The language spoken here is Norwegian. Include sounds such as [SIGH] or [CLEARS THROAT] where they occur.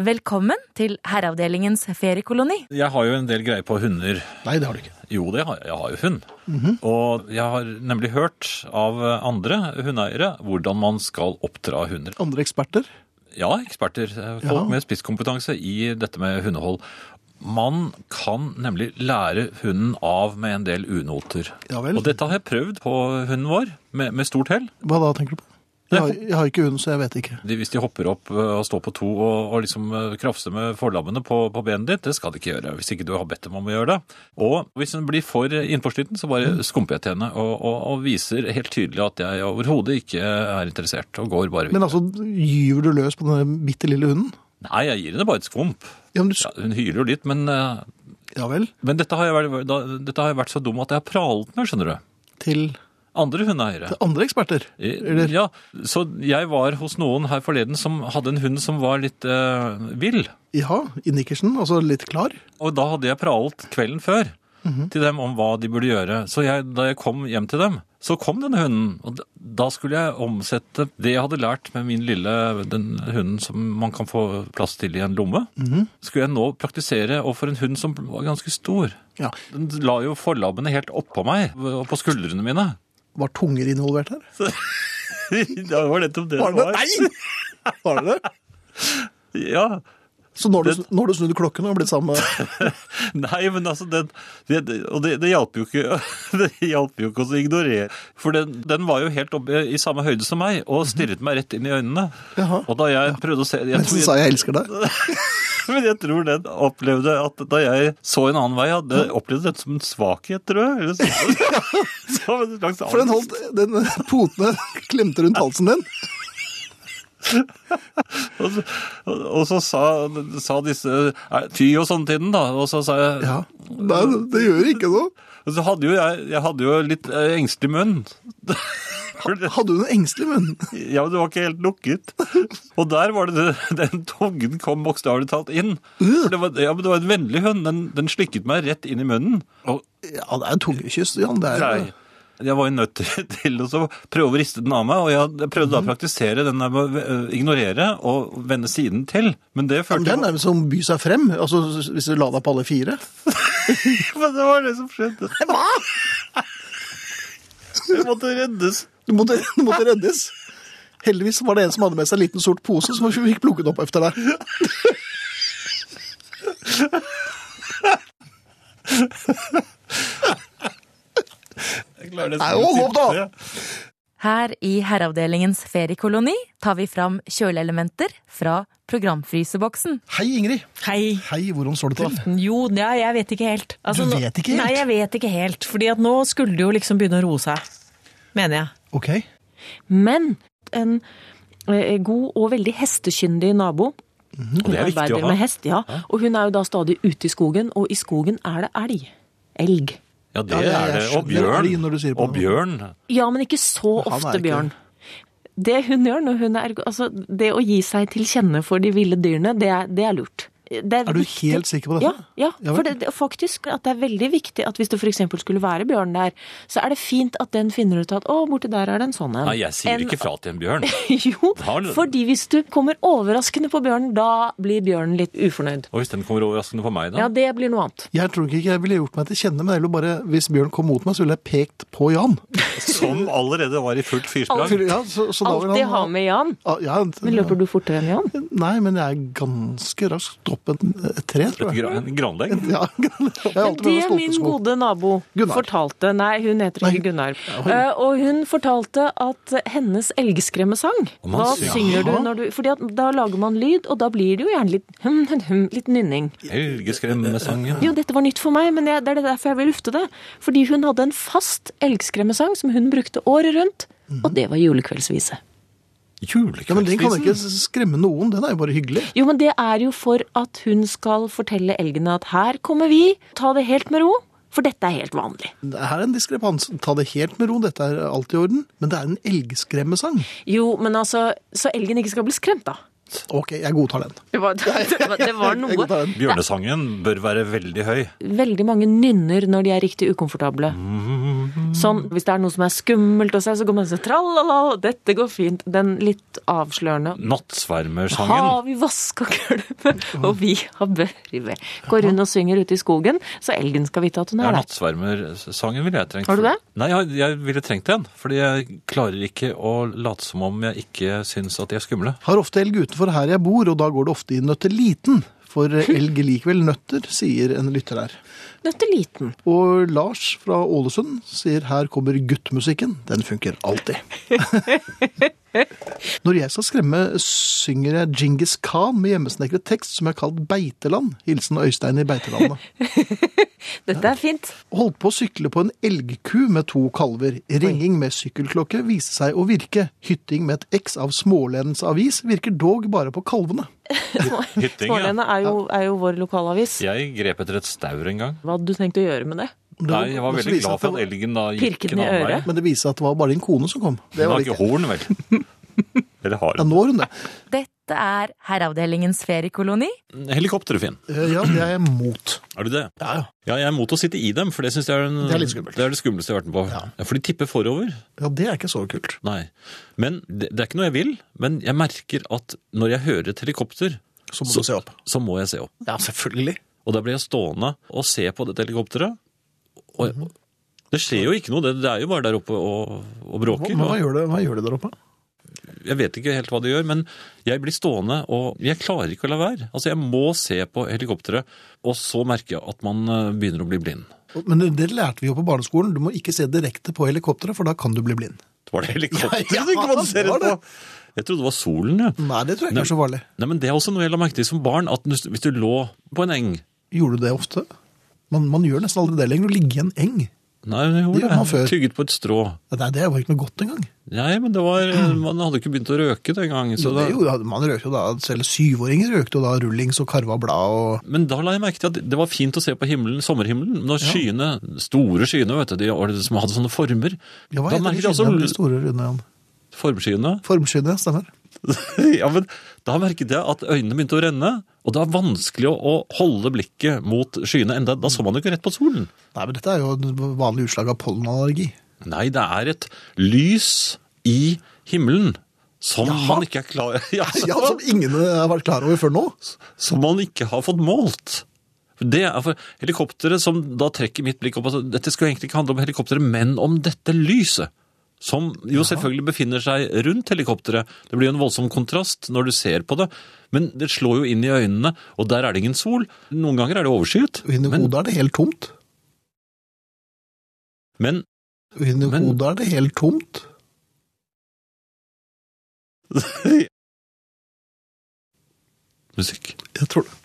Velkommen til Herreavdelingens feriekoloni. Jeg har jo en del greie på hunder. Nei, det har du ikke. Jo, det har, jeg har jo hund. Mhm. Og jeg har nemlig hørt av andre hundeeiere hvordan man skal oppdra hunder. Andre eksperter? Ja, eksperter, eh, folk Ja. med spisskompetanse i dette med hundehold. Man kan nemlig lære hunden av med en del unoter. Ja vel. Og dette har jeg prøvd på hunden vår, med, med stort hell. Hva da, tenker du på? Jeg har, jeg har ikke hund, så jeg vet ikke. De, hvis de hopper opp ø, og står på to og, og liksom ø, krafser med forlammene på, på benet ditt, det skal de ikke gjøre hvis ikke du har bedt dem om å gjøre det. Og hvis hun blir for innforstyrret, så bare skumper jeg til henne og, og, og viser helt tydelig at jeg overhodet ikke er interessert og går bare Men videre. altså, gyver du løs på denne bitte lille hunden? Nei, jeg gir henne bare et skvump. Ja, men du, Ja, hun hyler jo litt, men, ø, ja vel. men dette, har jeg vært, da, dette har jeg vært så dum at jeg har pralet med, skjønner du. Til Andre hundeeiere. til andre eksperter? Eller- Ja, så jeg var hos noen her forleden som hadde en hund som var litt ø, vill. Ja, i Nikkersen, altså litt klar. Og da hadde jeg pralet kvelden før til dem om hva de burde gjøre. Så jeg, da jeg kom hjem til dem, så kom denne hunden. Og da- da skulle jeg omsette det jeg hadde lært med min lille den hunden som man kan få plass til i en lomme, skulle jeg nå praktisere overfor en hund som var ganske stor. Ja. Den la jo forlabbene helt oppå meg og på skuldrene [LAUGHS] mine. Var tunger involvert her? det var nettopp det Var det det? Nei! [LAUGHS] Var det det? Ja. Så nå har du, nå har du snudd klokken og blitt sammen med [LAUGHS] [LAUGHS] Nei, men altså, den, det, det- og det, det hjalp jo ikke [LAUGHS] Det hjalp jo ikke å ignorere. For den, den var jo helt oppe i samme høyde som meg og stirret meg rett inn i øynene. Mhm. Jaha. Og da jeg prøvde å se jeg, Men så sa tror- jeg 'jeg elsker deg'. [LAUGHS] Men jeg tror den opplevde at da jeg så en annen vei, hadde opplevd dette som en svakhet, tror jeg. Eller så, [LAUGHS] [LAUGHS] som en slags For den holdt den [LAUGHS] potene klemte rundt halsen din. Og så, og, og så sa, sa disse er, Fy og sånn til den, da. Og så sa jeg Ja. Nei, det gjør ikke noe. Og så hadde jo jeg, jeg hadde jo litt eh, engstelig munn. [LAUGHS] For det- Hadde hun en engstelig munn? Ja, men det var ikke helt lukket. [LAUGHS] Og der var det den tungen kom bokstavelig talt inn. For Det var, ja, men det var en vennlig hund. Den, den slikket meg rett inn i munnen. Og Ja, det er tungekyss, Jan. Det er, nei, jeg var jo nødt til- [LAUGHS] til å så prøve å riste den av meg. Og jeg prøvde da å praktisere den der med å eh, ignorere og vende siden til. Men det Men følte det er jeg [LAUGHS] nærmest som by seg frem, altså hvis du la deg på alle fire. Men det var det som skjedde. Hva? Jeg måtte reddes. Du måtte, du måtte reddes. Heldigvis var det en som hadde med seg en liten sort pose, som vi fikk plukket opp etter deg. Jeg klarer nesten Nei, ikke å hold opp da! sitte. Her i Herreavdelingens feriekoloni tar vi fram kjøleelementer fra programfryseboksen. Hei, Ingrid. Hei. Hei, hvordan står det til? Jo, ja, jeg vet ikke helt. Altså, Du nå- vet ikke helt? Nei, jeg vet ikke helt. Fordi at nå skulle det jo liksom begynne å roe seg. Mener jeg. Ok. Men en eh, god og veldig hestekyndig nabo. Mhm. Og det er viktig å Arbeider med ha. hest, ja. Og hun er jo da stadig ute i skogen, og i skogen er det elg. Elg. Ja, det Ja, det- er jeg det. Og skjønner elg når du sier bjørn. på Og det. bjørn. Ja, men ikke så Han er ofte, ikke- Bjørn. Det hun gjør når hun er Altså, det å gi seg til kjenne for de ville dyrene, det er, det er lurt. Det Er du viktig- helt sikker på dette? Ja, ja. Ja vel. for det, det, faktisk at det er veldig viktig at hvis det f.eks. skulle være bjørn der, så er det fint at den finner ut at å, borti der er det en sånn en. Nei, jeg sier En- ikke fra til en bjørn. [LAUGHS] Jo, Har du- fordi hvis du kommer overraskende på bjørnen, da blir bjørnen litt ufornøyd. Og hvis den kommer overraskende på meg, da? Ja, det blir noe annet. Jeg tror ikke jeg ville gjort meg til kjenne, men jeg ville bare, hvis Bjørn kom mot meg, så ville jeg pekt på Jan. Som allerede var i fullt fyrslag. Ja, så, så da vil Alltid han- ha med Jan. Ah, Ja, Men løper du fortere enn Jan? Nei, men jeg er ganske raskt opp et, et tre, tror Et jeg. gra- en granlegg. [LAUGHS] Ja, jeg har alltid med Det meg min stolpesko. gode nabo Gunnar. fortalte Nei, hun heter Nei. ikke Gunnar. Eh, Og hun fortalte at hennes elgskremmesang Og man Hva synger. synger du Jaha. når du Fordi at da lager man lyd, og da blir det jo gjerne litt hum, hum, hum, litt nynning. Helgeskremmesangen. Jo, dette var nytt for meg, men jeg, det er derfor jeg vil lufte det. Fordi hun hadde en fast elgskremmesang som hun brukte året rundt, Mhm. og det var julekveldsvise. Ja, men den kan jo Julekveldsvisen. ikke skremme noen, den er jo bare hyggelig. Jo, men det er jo for at hun skal fortelle elgene at her kommer vi, ta det helt med ro, for dette er helt vanlig. Her er en diskrepans. Ta det helt med ro, dette er alt i orden. Men det er en elgskremmesang. Jo, men altså, så elgen ikke skal bli skremt da. Ok, jeg godtar den. Det var, [LAUGHS] det var, det [LAUGHS] var Jeg noe. godtar den. Bjørnesangen bør være veldig høy. Veldig mange nynner når de er riktig ukomfortable. Sånn, Hvis det er noe som er skummelt, og så, så går man sånn tralala, dette går fint. Den litt avslørende. Nattsvermersangen. Har vi vaska gulvet, og vi har børve. Går rundt og synger ute i skogen, så elgen skal vite at hun Ja, er der. nattsvermersangen ville jeg trengt. Har du det? Nei, jeg, jeg ville trengt den. Fordi jeg klarer ikke å late som om jeg ikke syns at de er skumle. Har ofte elg utenfor her jeg bor, og da går det ofte i nøtteliten. For Hm. elg likevel nøtter, sier en lytter her. Nøtteliten. Og Lars fra Ålesund sier her kommer guttmusikken. Den funker alltid. Når jeg skal skremme, synger jeg Djingis Khan med hjemmesnekret tekst som jeg har kalt Beiteland. Hilsen Øystein i Beitelandet. Dette er fint. Holdt på å sykle på en elgku med to kalver. Ringing med sykkelklokke viste seg å virke. Hytting med et X av Smålens avis virker dog bare på kalvene. Hytting, ja. Smålene er, jo- er jo vår lokalavis. Jeg grep etter et staur en gang. Hva hadde du tenkt å gjøre med det? Det Nei, jeg var men så veldig viste det glad seg for at at elgen da gikk Pirket en den i annen vei. øret. Men det viste seg at det var bare din kone som kom. Det Den var har det ikke ikke. horn, vel? [LAUGHS] Eller har Ja, den? nå har hun det. Dette er Herreavdelingens feriekoloni. Helikoptre, Finn. Eh, Ja, det er jeg mot. Er du det? Ja, ja. jeg er mot å sitte i dem, for det syns jeg er, den, Det er litt skummelt. det er det skumleste jeg har vært med på. Ja. for de tipper forover. Ja, det er ikke så kult. Nei. Men det, det er ikke noe jeg vil, men jeg merker at når jeg hører et helikopter, Så må du se opp. så må jeg se opp. Ja, selvfølgelig. Og da blir jeg stående og se på dette helikopteret. Og Mhm. det skjer jo ikke noe, det, det er jo bare der oppe og, og bråker. Hva, hva, og gjør det, hva gjør det der oppe? jeg vet ikke helt hva det gjør, men jeg blir stående, og jeg klarer ikke å la være. Altså, jeg må se på helikopteret, og så merker jeg at man eh, begynner å bli blind. Men det lærte vi jo på barneskolen. Du må ikke se direkte på helikopteret, for da kan du bli blind. Det var det helikopteret Ja, ja, du det kvalifiserte var det. på? Jeg trodde det var solen, jeg. Nei, det tror jeg ikke er så farlig. Nei, men det er også noe jeg la merke til som barn, at hvis du lå på en eng Gjorde du det ofte? Man, man gjør nesten aldri det lenger, å ligge i en eng. Nei, jeg Det gjorde gjorde man det. før. Tygget på et strå. Nei, det var ikke noe godt engang. Nei, men det [CLEARS THROAT] var, man hadde ikke begynt å røke den gangen. Så Jo, det da, gjorde- man røkte jo da, selv syvåringer røkte jo da rullings og karva blad og men da la jeg merke til at det var fint å se på himmelen, sommerhimmelen. Når skyene, store skyene, vet du, de var det som hadde sånne former. Ja, hva da altså- heter de merket jeg skyene? De også store runde igjen? formskyene. [LAUGHS] Formskyene, stemmer. ja, men da merket jeg at øynene begynte å renne, og det var vanskelig å, å holde blikket mot skyene. Enda, da så man jo ikke rett på solen. Nei, men dette er jo en vanlig utslag av pollenallergi. [LAUGHS] Nei, det er et lys i himmelen som man ikke er klar [LAUGHS] ja, Ja, altså. som ingen har vært klar over før nå. Som man ikke har fått målt. For Det er for helikopteret som da trekker mitt blikk opp. Altså, dette skulle egentlig ikke handle om helikopteret, men om dette lyset. Som jo selvfølgelig befinner seg rundt helikopteret. Det blir jo en voldsom kontrast når du ser på det. Men det slår jo inn i øynene, og der er det ingen sol. Noen ganger er det overskyet. Og inni Men, hodet er det helt tomt. men Og inni Men- hodet er det helt tomt. Musikk. Jeg tror det.